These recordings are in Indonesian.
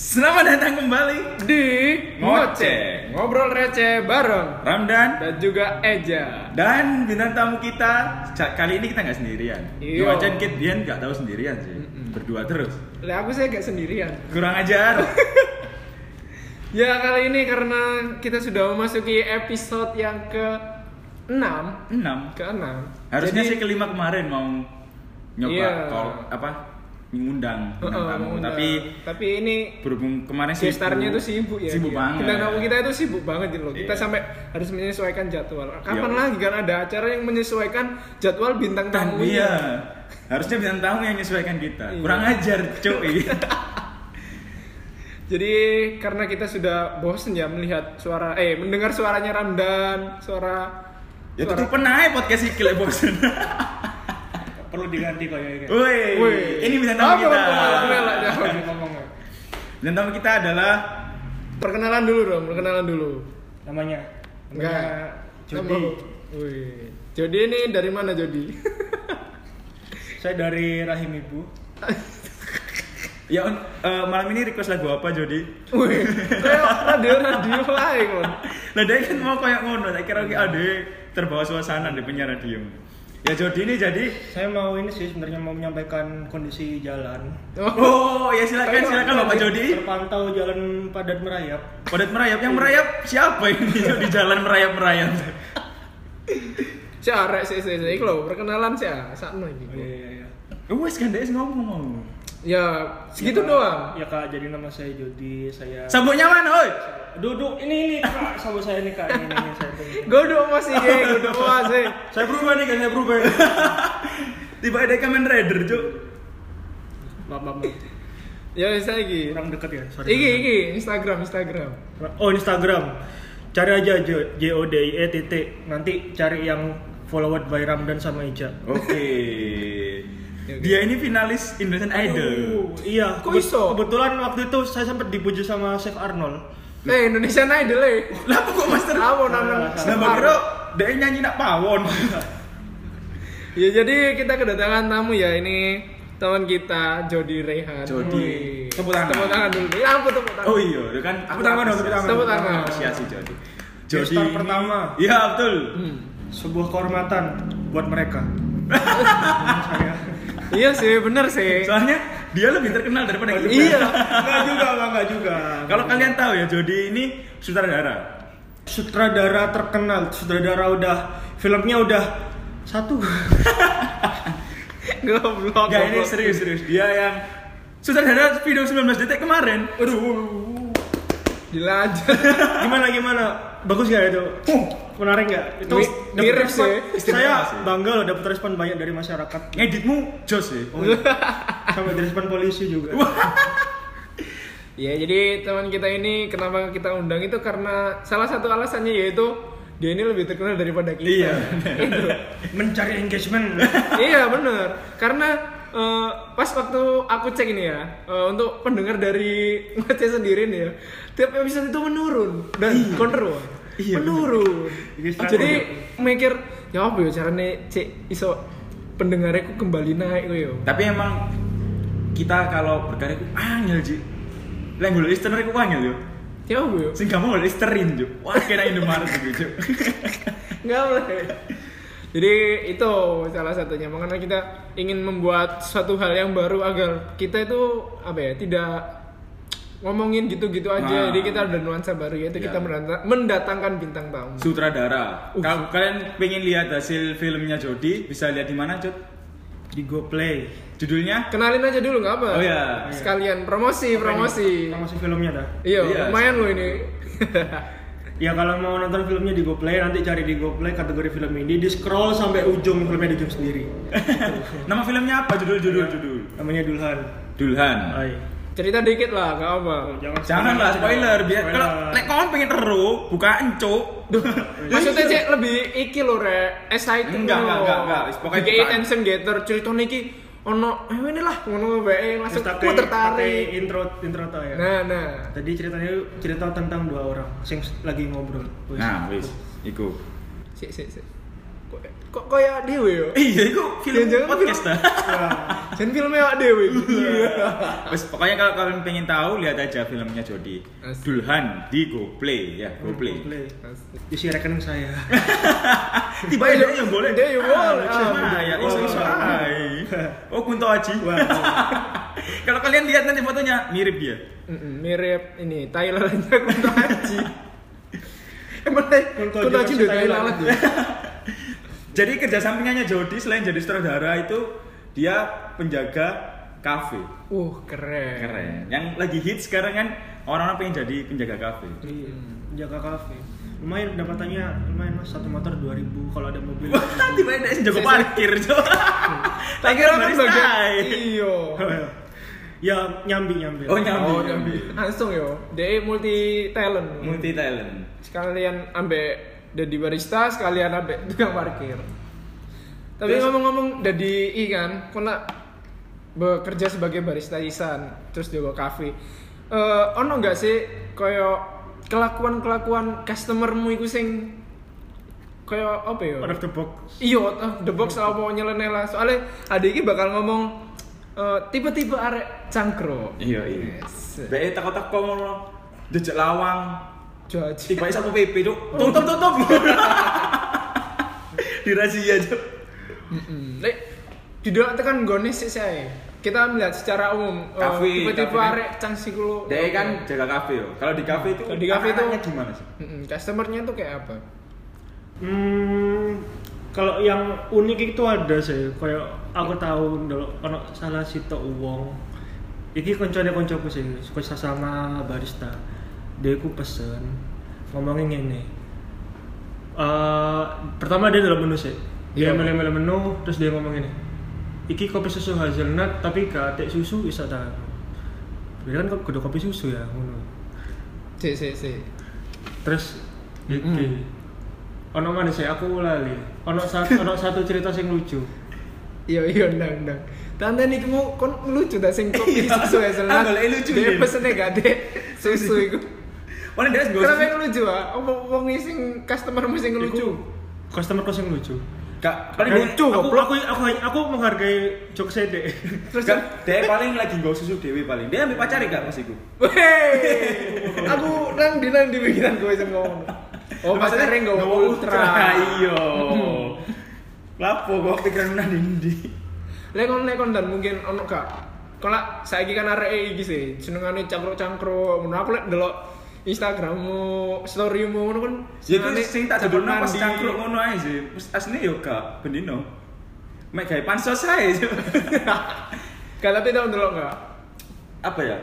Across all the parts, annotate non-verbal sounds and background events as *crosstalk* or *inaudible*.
Selamat datang kembali di Ngoceh. ngobrol receh bareng Ramdan dan juga Eja dan bintang tamu kita Ca- kali ini kita nggak sendirian. Iya. Dua Chan Kit Dian nggak tahu sendirian sih, berdua terus. lah aku saya agak sendirian Kurang *laughs* ajar. ya kali ini karena kita sudah memasuki episode yang ke 6 Enam. ke 6 Harusnya sih kelima kemarin mau nyoba Iya. call apa ngundang bintang tamu, tapi tapi ini berhubung kemarin sih gestarnya itu sibuk ya Sibuk dia. banget. bintang tamu kita itu sibuk banget gitu loh kita Iya. sampai harus menyesuaikan jadwal kapan Iya. lagi kan ada acara yang menyesuaikan jadwal bintang Kan, tamu iya. Harusnya bintang tamu yang menyesuaikan kita. Iya. Kurang ajar, *laughs* cuy. Jadi karena kita sudah bosen ya melihat suara eh mendengar suaranya Ramdan, suara ya suara- tutup aja podcast iki lek bosen. perlu diganti ya, Eh. kayaknya Woi, Wih. ini bintang tamu Apa, kita. apa, apa, apa, apa, apa, apa, apa. Dan tamu kita adalah Perkenalan dulu dong, perkenalan dulu. namanya namanya Enggak. Jody Nama- Wih. Jody ini dari mana Jody? *laughs* saya dari rahim ibu ya Un, eh, malam ini request lagu apa Jody? Wih. Kayak radio radio lain kan. Lah dia kan mau kayak ngono, tak kira ki ade terbawa suasana di penyiar radio. Ya Jody ini jadi saya mau ini sih sebenarnya mau menyampaikan kondisi jalan Oh. Oh, ya silakan silakan Bapak Jody. terpantau jalan padat merayap Padat merayap yang merayap siapa ini *laughs* di jalan merayap-merayap? Si arek si si si Iku lho, perkenalan si ah, sakno iki. oh, iya, iya, iya. Wes kan dia ngomong mau. Ya, Iya. segitu Ya, Kak. doang. ya kak jadi nama saya Jody saya Sambungnya mana, oi? duduk ini ini kak sama saya ini kak ini, ini, ini, saya ini. Godok masih ge, godok masih. Saya berubah nih, kan saya berubah. *laughs* Tiba ada Kamen Rider, Cuk. maaf maaf maaf. Ya wis iki. kurang dekat ya sorry Iki iki Instagram Instagram. oh Instagram cari aja J O D I E titik nanti cari yang followed by Ramdan sama Ija Oke. Dia ini finalis Indonesian Idol. Aduh, iya. Kok Kebet- iso? Kebetulan waktu itu saya sempat dipuji sama Chef Arnold. Eh Indonesia Idol eh. Lah apa kok Master? Lawan nang Nah, Mbak Kero, dia nyanyi nak pawon. Ya jadi kita kedatangan tamu ya ini teman kita Jody Rehan. Jody. Wih. Tepuk tangan. Tepuk tangan dulu. Ya ampun tepuk tangan. Oh iya, dia kan aku tangan dong, tepuk tangan. Tepuk tangan. Apresiasi Jody. Dia star pertama. Iya, betul. Hmm. Sebuah kehormatan buat *laughs* mereka. saya. Iya sih, bener sih. Soalnya dia lebih terkenal daripada kita. Iya. Enggak juga, Bang, enggak juga. Kalau kalian tahu ya Jody ini sutradara. sutradara terkenal, sutradara udah filmnya udah satu. Goblok. Enggak ini goblok. serius-serius. Dia yang sutradara video 19 detik kemarin. Aduh. Dilanjut. *laughs* *laughs* Gimana gimana? Bagus gak itu? Menarik gak? Itu Mi- dapet mirip respon- sih. Istimewa Saya sih. bangga loh dapat respon banyak dari masyarakat. Ngeditmu ya? jos sih. *laughs* Sampai dari respon polisi juga. ya jadi teman kita ini kenapa kita undang itu karena salah satu alasannya yaitu dia ini lebih terkenal daripada kita. *laughs* Gitu. Iya. Itu. Mencari engagement. iya bener karena eh, pas waktu aku cek ini ya eh, untuk pendengar dari ngoceh sendiri nih ya tiap episode itu menurun dan kontrol Iya, menurun Ini struggle. jadi mikir ya apa ya caranya cek iso pendengarnya ku kembali naik ya?" ku yo Tapi emang kita kalau berkarya itu angel, Ji. Lah yang gue listener itu angel yo. ya apa ya Sing gak mau listerin, Ju. Wah, kena Indomaret gitu, Ju. nggak boleh jadi itu salah satunya makanya kita ingin membuat suatu hal yang baru agar kita itu apa ya tidak ngomongin gitu-gitu aja Nah. jadi kita ada nuansa baru yaitu Ya. kita mendata- mendatangkan bintang tamu *laughs* Sutradara. Uh. Kalau kalian pengen lihat hasil filmnya Jody, bisa lihat di mana, Jod? *laughs* Di GoPlay. Judulnya? kenalin aja dulu nggak apa Oh, ya. sekalian promosi promosi Promosi filmnya dah. iya Iya. lumayan loh ini *laughs* Ya kalau mau nonton filmnya di GoPlay nanti cari di GoPlay kategori film ini di scroll sampai ujung filmnya di ujung sendiri. Nama filmnya apa? Judul, judul, judul. Namanya Dulhan. Iya. Dulhan. Hai. cerita dikit lah nggak apa Jangan Janganlah spoiler, biar kalau Spoiler. nek kamu pengen teru, bukaan, Cuk. Duh, maksudnya cek lebih iki lho rek excited Enggak, lho. enggak, enggak, enggak. Pokoknya Dikei bukan. tension getter ceritanya iki ono eh ini lah ngono wae langsung aku Terus pakai- pakai tertarik intro intro tau ya. nah nah Tadi ceritanya cerita tentang dua orang sing lagi ngobrol. Wih. Nah, wis. Iku. sik sik sik Kok- kok kayak dewe yo Iya, itu film Jangan-jangan podcast film- dah. Jan filmnya awak dewe Iya. Wes, pokoknya kalau kalian pengen tahu lihat aja filmnya Jody. Asik. Dulhan di GoPlay ya, GoPlay. Play. Iya. Isi rekening saya. Tiba tiba yang boleh. Dia yang boleh. Ah, cuma Ah, ya boleh. iso-iso Wah. ae. Oh, Kunto Aji. Wah, *laughs* Kalau kalian lihat nanti fotonya mirip dia. Mm-mm, mirip ini Thailand aja Kunto Haji emang Thai *laughs* Kunto Kunto Haji Haji versi udah Thailand Thailand. ya? Jadi kerja sampingannya Jody selain jadi sutradara itu dia penjaga kafe. uh keren Keren. Yang lagi hits sekarang kan orang-orang pengen jadi penjaga kafe. Iya, jaga kafe. Lumayan pendapatannya lumayan mas satu motor 2000 kalau ada mobil. Wah, tiba-tiba dia jago parkir, *laughs* Cok. tak kira kan Barista, bagian eh. iyo *laughs* ya nyambi nyambi. Oh, nyambi. oh nyambi langsung yo dia multi talent Multi talent. sekalian ambek jadi barista sekalian ambek tukang parkir tapi Terus- ngomong-ngomong jadi i kan kau nak bekerja sebagai barista isan terus jago kafe Eh, ono nggak sih koyo kelakuan kelakuan customermu iku sing koyo apa ya Out of the box. Iya, ah, the box lah mau nyeleneh lah. Soalnya adik ini bakal ngomong eh, tipe-tipe arek cangkro. Iya, iya. Yes. Bae takut-takut ngomong dejek lawang. Jadi Tiba-tiba sapu PP, Cok. Tutup, tutup. *laughs* Dirazia, Cok. Hmm. Lek, kan tidak tekan gone sih saya. Kita melihat secara umum eh, Kafe, tipe-tipe kafe. arek cangsi kulo. Dia kan jaga kafe yo. Kalau di kafe itu Kalau di kafe itu- anak-anaknya gimana sih? Mm-mm, Hmm, customernya tuh kayak apa? Hmm, kalau yang unik itu ada sih. Kayak aku tahu dulu kalau salah situ uang. Iki koncone koncoku sih, suka sama barista. Dia ku pesen ngomongin ini. Eh, pertama dia dalam menu sih. Dia Iya. milih-milih menu, terus dia ngomong ini. Iki kopi susu hazelnut tapi gak ada susu bisa ta. Beda kan kok kudu kopi susu ya ngono. Si si si. Terus iki. Ono mana sih aku lali. Ono *laughs* satu ono satu cerita sing lucu. Iya iya ndang ndang. Tante nih kamu kon lucu dah sing *laughs* kopi Iya. susu ya Ah, golek lucu, Dia Din. pesennya gak deh susu *laughs* itu. Mana dia nggak Kenapa usah. yang lucu ah? Wong sing customermu sing lucu. Customer kau sing lucu. Kak, paling dia- Lucu, aku, goblok. aku, aku, aku, menghargai *laughs* jokes deh. Terus Kak, dia paling lagi nggak susu dewi paling. Dia ambil pacari kak pas iku. Wey, *laughs* aku nang di nang di pikiran gue sih ngomong. Oh, Maksudnya iya. pacarnya nggak nggak mau ultra. *laughs* *laughs* Iyo. Lapo gua pikiran nang ndi. Lekon lekon dan mungkin ono kak. Kalau saya kan arek iki sih, senengane cangkruk-cangkruk. Menurut aku lek delok Instagrammu, storymu ngono kan. Ya itu senengane sing tak jagono pas di- cangkruk ngono ae sih. Pas asline yo gak bendino. Mek gawe pansos ae. Cuk. Gak tapi tau delok gak? *laughs* Apa ya?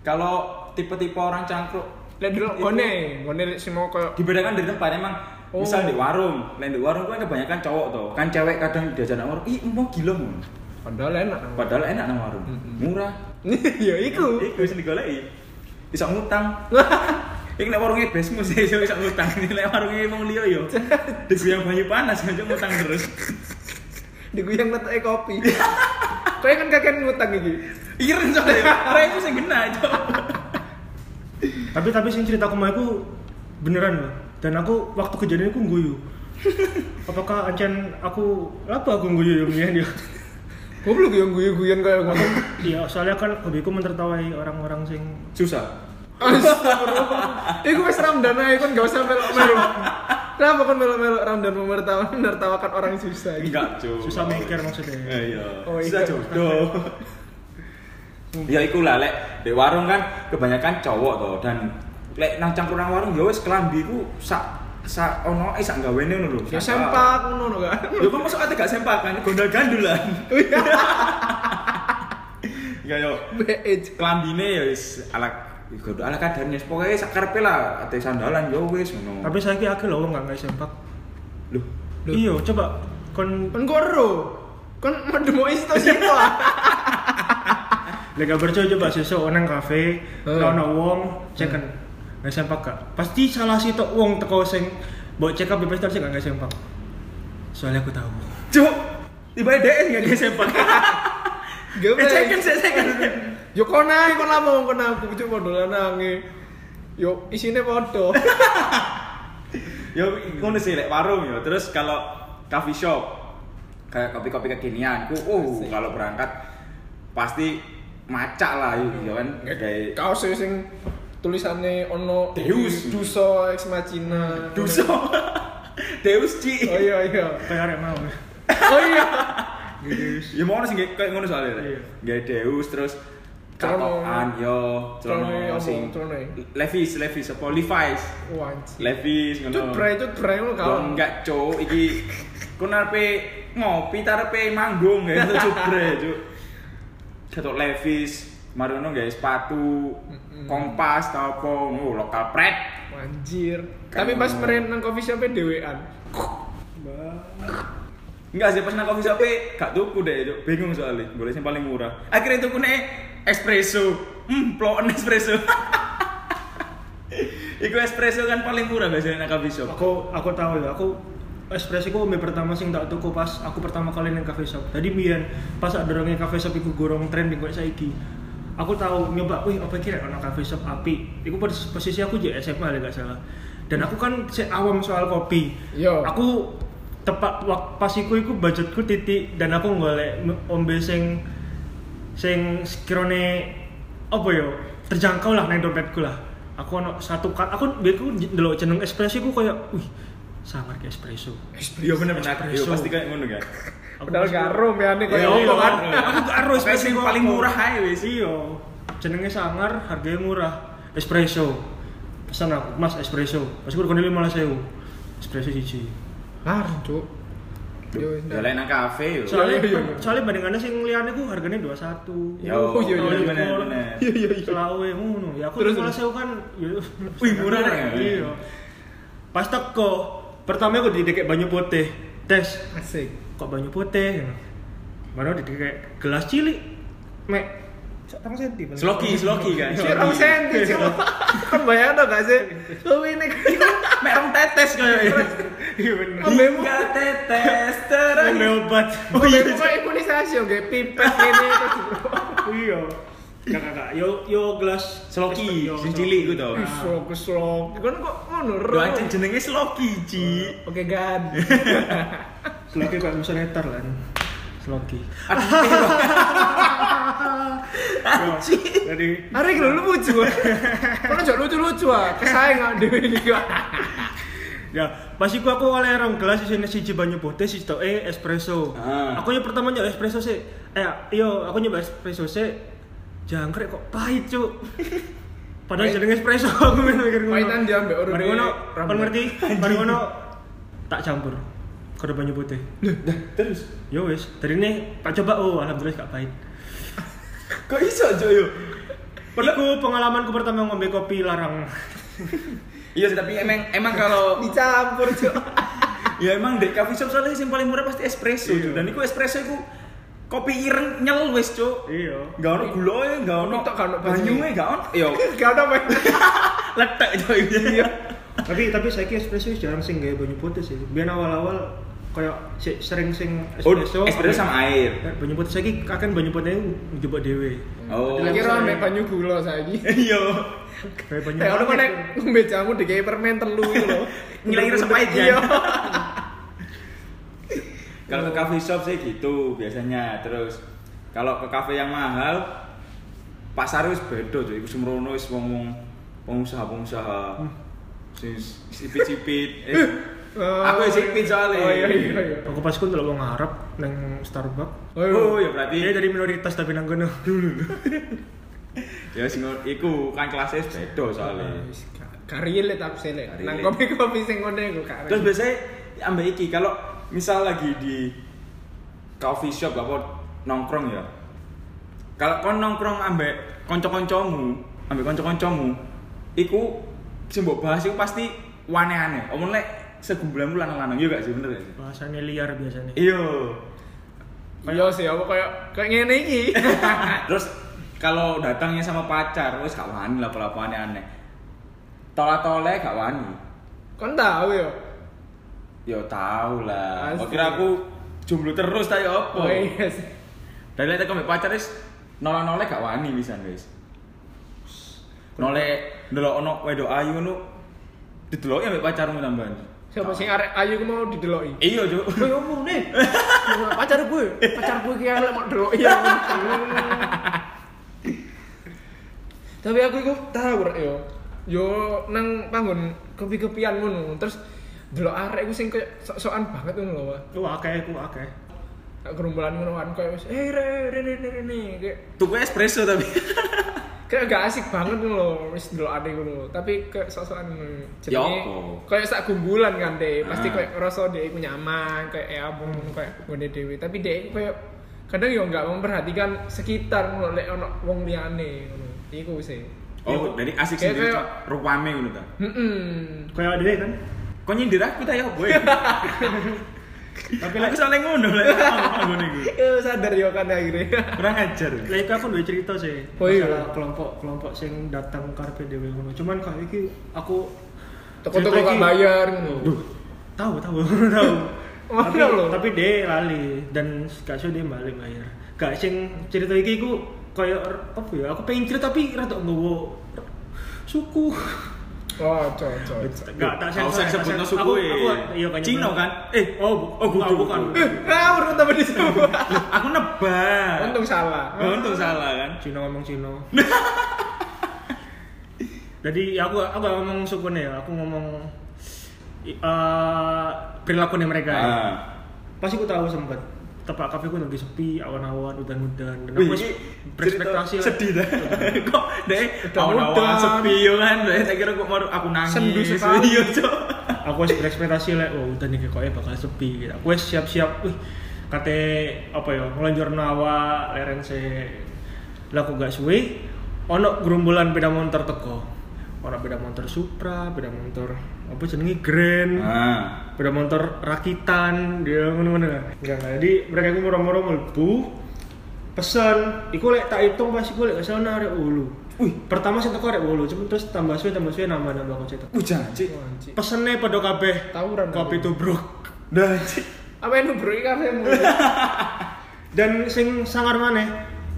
Kalau tipe-tipe orang cangkruk Lek delok Itu- gone, gone lek sing mau koyo dibedakan dari tempat emang Oh. misal di warung lain di warung kan kebanyakan cowok tuh kan cewek kadang diajak nang warung ih mau gila mun padahal enak. padahal enak nang warung Mm-mm. murah *laughs* Ya iku. iku sing digoleki bisa *laughs* ngutang Iki nek warunge besmu sih *laughs* iso iso ngutang. Nek warunge wong liya *laughs* yo. Diguyang banyu panas *laughs* aja ngutang terus. Diguyang ngeteke *laughs* kopi. Kayak kan kakek ngutang iki. Iren soalnya, ora iku sing genah aja. tapi tapi sing cerita aku mau aku beneran loh. Dan aku waktu kejadian aku *laughs* guyu. Apakah ancen aku apa aku guyu ya *laughs* begini dia? Goblok yang guyon-guyon kayak *laughs* ngono. Iya, soalnya kan hobiku mentertawai orang-orang sing Susah. Iku wis Ramdan ae kon gak usah melo-melo. *laughs* Kenapa kon melo-melo Ramdan memertawa menertawakan orang susah gitu. Enggak, cuy. susah mikir maksudnya. Eh, Iya. Oh, iya. Susah jodoh. ya ikulah lek di warung kan kebanyakan cowok toh dan lek nang campur nang warung ya wis kelambi ku sak sak ono eh sak gawene ngono lho. Ya Sak- sempak ngono kan. Ya kok masuk ate gak sempak kan gondol gandulan. *laughs* Ya yo BE. kelambine ya wis ala gondol ala kadarnya wis pokoke sak karepe lah ate sandalan ya wis ngono. Tapi saya kira aku loh nggak nggak sempak. lho Loh. Iya, coba kon Kon goro. Kon medemo isto sito. *laughs* Lega berco coba sesuk nang kafe, Hmm. ana wong ceken. Nggak sempak gak? Pasti salah sitok wong teko sing mbok check up di pesta sing gak nggak sempak. Soalnya aku tahu. Cuk, tiba DN gak dia *laughs* sempak. Ya, Eh, second, second. Yo kon ae kon lamo kon aku cuma dolan nange. Yo isine Ya, padha. ya ngono sih lek warung ya terus kalau coffee shop kayak kopi-kopi kekinian ku uh Asik. kalau berangkat pasti macak lah gitu kan kayak kaos sih sing tulisannya ono Deus. duso ex machina duso *laughs* Deus Ci oh iya iya kayak arek mau Gitu, oh iya ya mau sih kayak kayak ngono soalnya Iya. gak Deus terus Celana. katokan yo Celana celana apa? sing Celana. Levi's Levi's apa Levi's wanci Levi's itu ngono pre itu pre lo Yo, kau enggak cok iki ku narepe ngopi tarepe manggung ya itu cubre cuk ketok Levi's Marono guys sepatu Mm-mm. kompas tau apa ngono lokal pret anjir tapi Kamu. pas meren nang coffee shopnya dewean enggak sih pas nang coffee shop gak tuku deh cuk bingung soalnya boleh sing paling murah akhirnya tuku nih espresso hmm ploen espresso *laughs* Iku espresso kan paling murah biasanya nang coffee shop. aku aku tahu ya aku ekspresiku mie pertama sing tak tuku pas aku pertama kali nang cafe shop tadi biyen pas ada orangnya cafe shop iku gorong tren di gue saiki aku tahu nyoba wih apa kira ono cafe shop api iku pers- posisi aku di SMA nggak salah dan aku kan sik awam soal kopi Yo. aku tepat waktu pas iku iku budgetku titik dan aku golek m- ombe sing sing sekirone apa ya terjangkau lah nang dompetku lah aku ono satu kan aku biarku ndelok jeneng espresso ku kayak wih sangar ke espresso Iya bener-bener. Iya Espresso. pasti kayak ngono kan. Aku padahal pas- gak rom ya nih Iya, kayak iya, apa kan iya. aku gak harus Pokoknya sing paling murah ae wis. iya jenenge sangar harganya murah espresso pesan aku mas espresso pas aku rekonin lima espresso siji nah cuk Yo, Duh, nah. Jalan nang kafe yo. soalnya Iya, iya, iya. soalnya bandingannya sih ngeliatnya ku harganya dua satu Yo, Oh, iya, iya, bener, iya. bener, bener. Iya, iya, iya. Selawe ngono. Ya aku Terus, terus malah terus. sewu kan ya Wih, murah ya? Iya. Pas teko, pertama aku didekek banyu putih. Tes, asik kok banyu putih? Mana didekek gelas cilik. Mek Tang senti. Iya, paling. Sloki, sloki kan. Cuk, rong senti cuk kan bayar dong gak sih lu ini kan Mek rong tetes koyo. Iya bener. Ambemu. Hingga tetes terang. Ambil *laughs* obat. Oh iya, kok imunisasi yo kayak pipet gini terus Iya. Kakak, kakak, yo yo gelas Sloki, Yo, sing sloki. cilik ku to. Ih, slok slok. Kan kok ngono. Ro? Doa aja jenenge sloki, Ci. Oke, gan. Sloki kayak musuh netar kan. Sloki. *laughs* Yo, Jadi Arek lho lu lucu. Kan jek lucu-lucu ah. Kesaing awak dhewe iki. kok. Ya, pas iku aku oleh rong gelas isine siji banyu putih, siji tok eh espresso. Ah. Aku yang pertama nyoba espresso sih. Eh, yo aku nyoba espresso sih. Jangkrik kok pahit, Cuk. Padahal Pahit. jenenge espresso *laughs* aku mikir ngono. Pahitan dia ambek urut Baru ngono, rambut. kon ngerti? Baru ngono tak campur. Kode banyu putih. Terus Yo wis, dari ini tak coba oh alhamdulillah gak pahit. kok iso, Cuk, yo? Padahal- Iku pengalamanku pertama ngombe kopi larang. Iya sih, tapi emang emang kalau *laughs* Dicampur, Cuk. ya emang dek coffee shop soalnya yang paling murah pasti espresso, Cuk. Dan iku espresso iku kopi ireng nyel wis, Cuk. Iya. Gak ono gula e, gak ono Tapi tok gak ono banyunya. banyunya, gak ono. Yo, Gak ada apa. *laughs* letek Cuk. Iya. tapi tapi saya kira espresso jarang sih gaya banyu putih sih biar awal-awal kayak si- sering sing Oh, espresso espresso sama air. Eh, banyu putih saya kira akan banyu putih coba dewe Oh. Lagi ro ambek banyu gula saiki. Iya. kayak banyu Kayak Eh, ono putih. kok nek ngombe jamu dikei permen telu itu *laughs* lho. Ngilangi rasa pahit, ya? Iya. Kalau ke coffee shop sih gitu biasanya. Terus kalau ke kafe yang mahal pasar wis beda cuy. Iku semrono wis wong pengusaha-pengusaha. Hmm. Sing sipit-sipit. Eh, Oh, *laughs* aku ya sipit soalnya. Oh iya iya iya. aku pas aku ndelok wong Arab nang Starbucks Oh, Oh ya iya. berarti dia dari minoritas tapi nang kono dulu ya sing iku kan kelasnya wis beda Ah, soalnya. Karil tapi sele. Gak Nang relate. kopi-kopi sing ngene iku karil. Terus biasanya ambek iki kalau misal lagi di coffee shop apa nongkrong ya. Kalau kon nongkrong ambek kanca-kancamu, ambek kanca-kancamu, iku sing mbok bahas iku pasti aneh-aneh. Omong lek segumbulan lanang-lanang ya gak sih bener gak sih? bahasanya liar biasanya Iya. Iya sih, apa kayak kayak ngene iki. *laughs* Terus kalau datangnya sama pacar, wis gak wani lah apa aneh-aneh. Tola-tole gak wani. Kon tau ya. Yo tau lah. Asli. Kok kira aku jomblo terus ta ya apa? Oh iya sih. Dari lihat aku pacar wis nolak-nolak gak wani kan, bisa guys. Nolak ndelok ono wedok ayu nu dideloki ambek pacarmu tambahan. Siapa sih arek ayu ku mau dideloki? Iya, Cuk. Kowe opo ne? Pacar gue, pacar gue ki elek mau deloki ya. Tapi aku iku tahu rek yo. Yo nang panggon kepi-kepian ngono. Terus delok arek ku sing koyo sok-sokan banget ngono lho. Wak. Wah, akeh aku akeh. Tak gerombolan ngono kan koyo wis eh re re re re re re." kayak Tuku espresso *laughs* tapi. kayak gak asik banget ngono lho wis delok arek ngono. Tapi kayak sok-sokan ngono. Ya Jenenge apa? koyo sak gumbulan kan deh. Pasti Ah. koyo ngerasa dhek iku nyaman, koyo ya apa ngono koyo gone dhewe. Tapi dhek iku koyo kadang yo gak memperhatikan sekitar ngono lek ono wong liyane ngono. Iku sih. Iya. Oh, dari asik Kayak- sendiri kayak- Cuk. rupane ngono ta. Heeh. Kayak dhewe kan. Kok nyindir aku ta ya, *laughs* boy? Tapi Aku lek soalnya ngono *laughs* lek ngono iku. *laughs* Yo sadar yo kan akhirnya. Kurang ajar. lek iku aku duwe cerita sih. Oh iya. Masalah kelompok-kelompok sing datang karepe dhewe ngono. Cuman kok iki aku Toko-toko cerita gak iki- bayar ngono. Duh, tahu tahu *laughs* tahu. Oh, tapi iya lho. tapi dia lali dan gak sih dia balik bayar. Gak sing cerita iki ku kayak r- apa ya? Aku pengen cerita tapi rada nggowo r- suku. Oh, coy, coy. coy. Gak tak Gak usah tak disebut no sensor. suku. Aku- eh. aku- iya, kayaknya Cino bener. kan? Eh, Oh, bu- oh bukan, bukan. bukan. Eh, ngawur tambah di semua. *laughs* Aku nebak. Untung salah. Oh, untung salah kan. Cino ngomong Cino. *laughs* Jadi ya aku aku gak ngomong sukunya ya, aku ngomong i- eh perilakunya mereka. ya. Ah. Pasti aku tahu sempat tempat kafe ku lagi sepi, awan-awan, udan-udan. Dan Wih, aku ini berekspektasi cerita lah. sedih dah. kok deh Udah, awan-awan udah. sepi yo kan. Deh tak kira kok mau aku nangis. Sendu sekali. Iya, Cok. aku wis berekspektasi lek oh udan iki koyo bakal sepi gitu. Aku wis siap-siap wih kate apa ya ngelonjor nawa leren se lah aku gak suwe ono gerombolan beda motor teko. Ono beda motor Supra, beda motor apa jenenge Grand. Ah. Beda motor rakitan dia ngono-ngono kan. Enggak enggak. Jadi mereka iku moro-moro mlebu pesan iku lek tak hitung pas iku lek gak salah arek ulu. Wih, pertama sing teko arek ulu, cuman terus tambah suwe tambah suwe nambah-nambah kocek. Hujan, Cik. Wah, anjing. Pesennya pada kabeh Tawuran. kopi tubruk. Dah, Cik. Apa yang bro ini kafe mu? Dan sing sangar maneh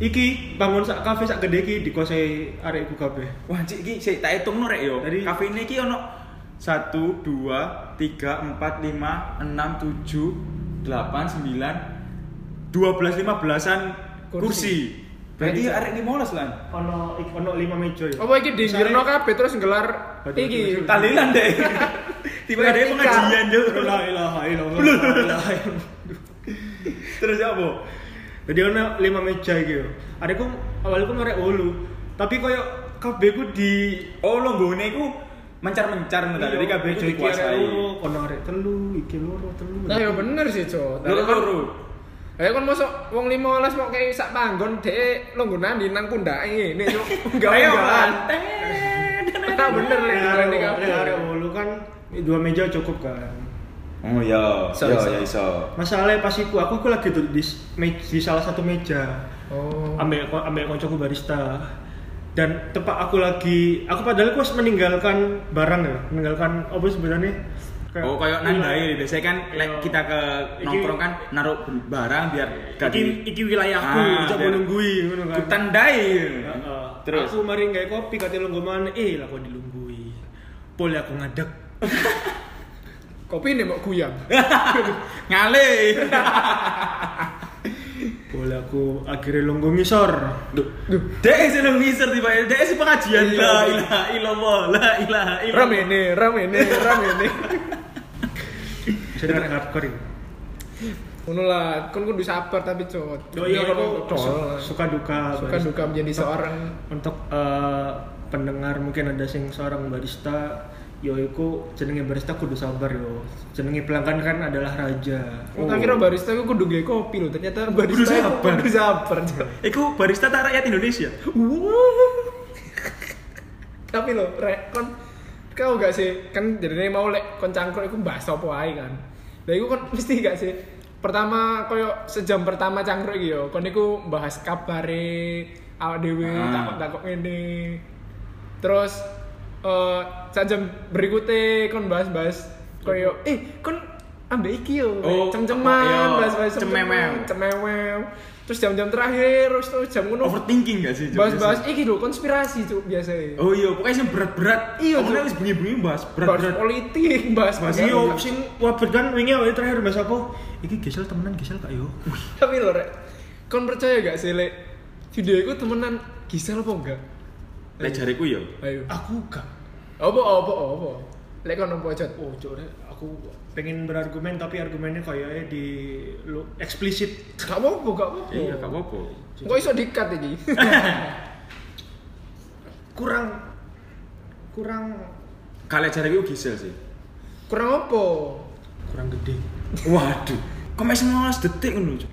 iki bangun sak kafe sak gede iki dikuasai arek iku kabeh. Wah, Cik iki sik tak hitung no rek yo. Dari- Kafe ini iki ono 1 2 3 4 5 6 7 8 9 12 15-an Kursi. kursi. Berarti Jadi- arek 15 lan. Ono ik- ono 5 meja ya. Apa iki dinjirno kabeh terus gelar Waduh, iki waduh, Tahlilan *laughs* deh. Tiba ada Bertiga. pengajian Cuk. La ilaha illallah. Terus apa? Jadi ono 5 meja iki yo. Adekku awalnya ku arek ulu, tapi koyo kabeh ku di Oh, lombone iku mencar-mencar ngono ta. Jadi kabeh Iku itu iki arek dikuasai. loro, Ono arek telu, iki loro telu. Nah, ya bener sih, Cok. kan Loro-loro. Eh kon mosok wong 15 mau kayak sak panggon dhek longgonan di nang pundake ngene, Cok. Enggak Ayo, enggak. Ante. Kita bener lek Lek gelar arek ini lek kabeh. arek ulu kan dua meja cukup kan. Oh iya, Iso, iya iso. iya iso. Masalahnya pas iku aku iku lagi tuh di, s- me- di salah satu meja. Oh. ambek ambek koncoku barista dan tepat aku lagi aku padahal aku harus meninggalkan barang ya meninggalkan apa sih sebenarnya Oh, kayak nandai biasanya kan Iya. lek kita ke Iki- nongkrong kan naruh barang biar gak iki, di iki wilayahku Ah, ah, biar- menunggui ngono kan kutandai. Heeh. Terus aku mari nggak kopi kata lu mana eh lah kok dilunggui boleh aku ngadeg Kopi ini mau guyang. ngale. boleh aku akhirnya lunggu ngisor Dek sing nang ngisor tiba dek sing pengajian Iya. la ilaha illallah la ilaha illallah. Ram ini, ram ini, ram ini. jadi arek hardcore ya? ini Ngono lah, kon kudu sabar tapi, Cok. Oh iya, Ngono, aku Cok. suka duka suka barista. duka menjadi seorang untuk eh, pendengar mungkin ada sing seorang barista yo iku jenenge barista kudu sabar yo jenenge pelanggan kan adalah raja Oh. Tak kira barista aku kudu gawe kopi loh, ternyata Kudu barista kudu sabar. sabar. Kudu sabar. Cok. Iku barista tak rakyat Indonesia. Wuh. Tapi lo, rek kon kau gak sih kan jadinya mau lek kon cangkruk iku mbahas apa ae kan. Lah iku kon *laughs* mesti gak sih pertama koyo sejam pertama cangkruk iki yo kon iku bahas kabare awak dhewe Ah. takok-takok ngene. Terus eh sajam berikutnya kon bahas-bahas koyo eh kon ambek iki yo Oh, iya. cem-ceman bahas-bahas Cememem. cememem cememem terus jam-jam terakhir terus terus jam Oh, ngono Overthinking gak sih? Cuk, bahas-bahas iki lho konspirasi cuk biasanya? biasanya Oh iya, pokoknya sih berat-berat. Iya, Omongnya Cuk. wis bengi-bengi bahas bahas berat-berat. politik *laughs* bahas Bahas bahas- iyo. Yo sing wabet kan wingi awake terakhir Mas aku. Iki gesel temenan gesel gak yo. tapi lho rek kon percaya gak sih lek video iku temenan gisel apa enggak Lah jariku ya. ayo Aku gak. apa apa apa lek kon opo cot Oh, Cuk, Rek, aku pengen berargumen tapi argumennya kayaknya di lu eksplisit. gak apa-apa gak apa-apa Iya, gak apa-apa. kok iso dikat *laughs* iki Kurang kurang Kalau jariku gisel sih. kurang apa kurang gede. *laughs* Waduh, kok masih 15 detik ngono, Cuk.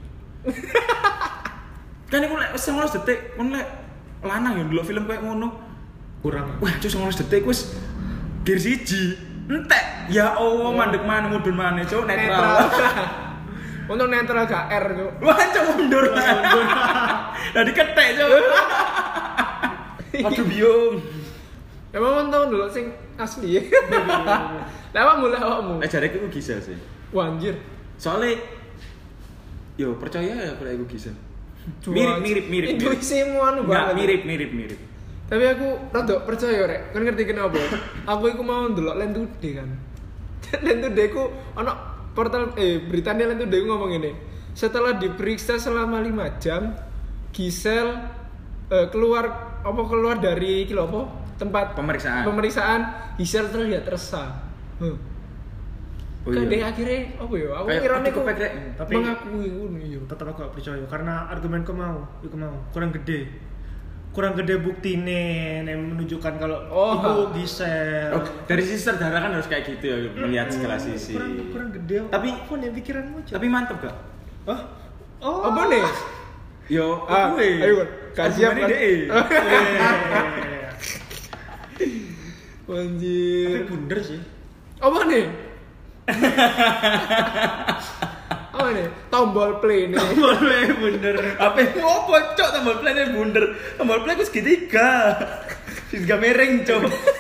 *laughs* kan iku lek wis 15 detik, kon lek lanang ya ndelok film kayak ngono. Kurang Wah, cuk 15 detik wis gear siji. Entek. Ya Allah, mandek mana mudun mana, Cuk, netral. *laughs* untuk netral gak R cuk *laughs* Wah, cuk mundur. *laughs* Tadi ketek, Cuk. *laughs* Aduh, biung. emang kon tau dulu sing asli *laughs* lah apa mulai awakmu Lek jariku iku gisel sih. Wah, anjir Soalnya yo percaya ya kalau iku gisel. Cuk, Mirip, mirip, mirip. mirip. intuisimu anu Enggak, banget mirip, mirip, mirip. tapi aku rada percaya rek kan ngerti kenapa aku iku mau ndelok Land Today kan *laughs* Land Today ku ono portal eh beritanya Land Today ku ngomong ini setelah diperiksa selama 5 jam Gisel eh, keluar apa keluar dari kilo apa tempat Pemeriksaan. pemeriksaan Gisel terlihat resah huh. Oh, kan iya. dia akhirnya apa ya aku Kayak, kira aduh, aku kepek, Rek. Tapi- mengakui ngono iya tetap aku gak percaya karena argumen ku mau, iku mau kurang gede. Kurang gede buktine yang menunjukkan kalau Oh. iku gisel. Oh, dari sisi sutradara kan harus kayak gitu ya melihat segala sisi. Hmm, Kurang kurang gede. Tapi- apa nih pikiranmu, Cuk? Tapi mantep gak? Hah? Oh. apa nih Yo, Ah, ayo, Wan. Kasihan, Argumennya Wan. deh. Eh, Tapi anjir bunder sih. Apa nih? apa nih? Tombol play nih. Boleh bunder. Apa yang *laughs* apa cok tombol play bunder. Tombol play gue segitiga. Segitiga mereng cok.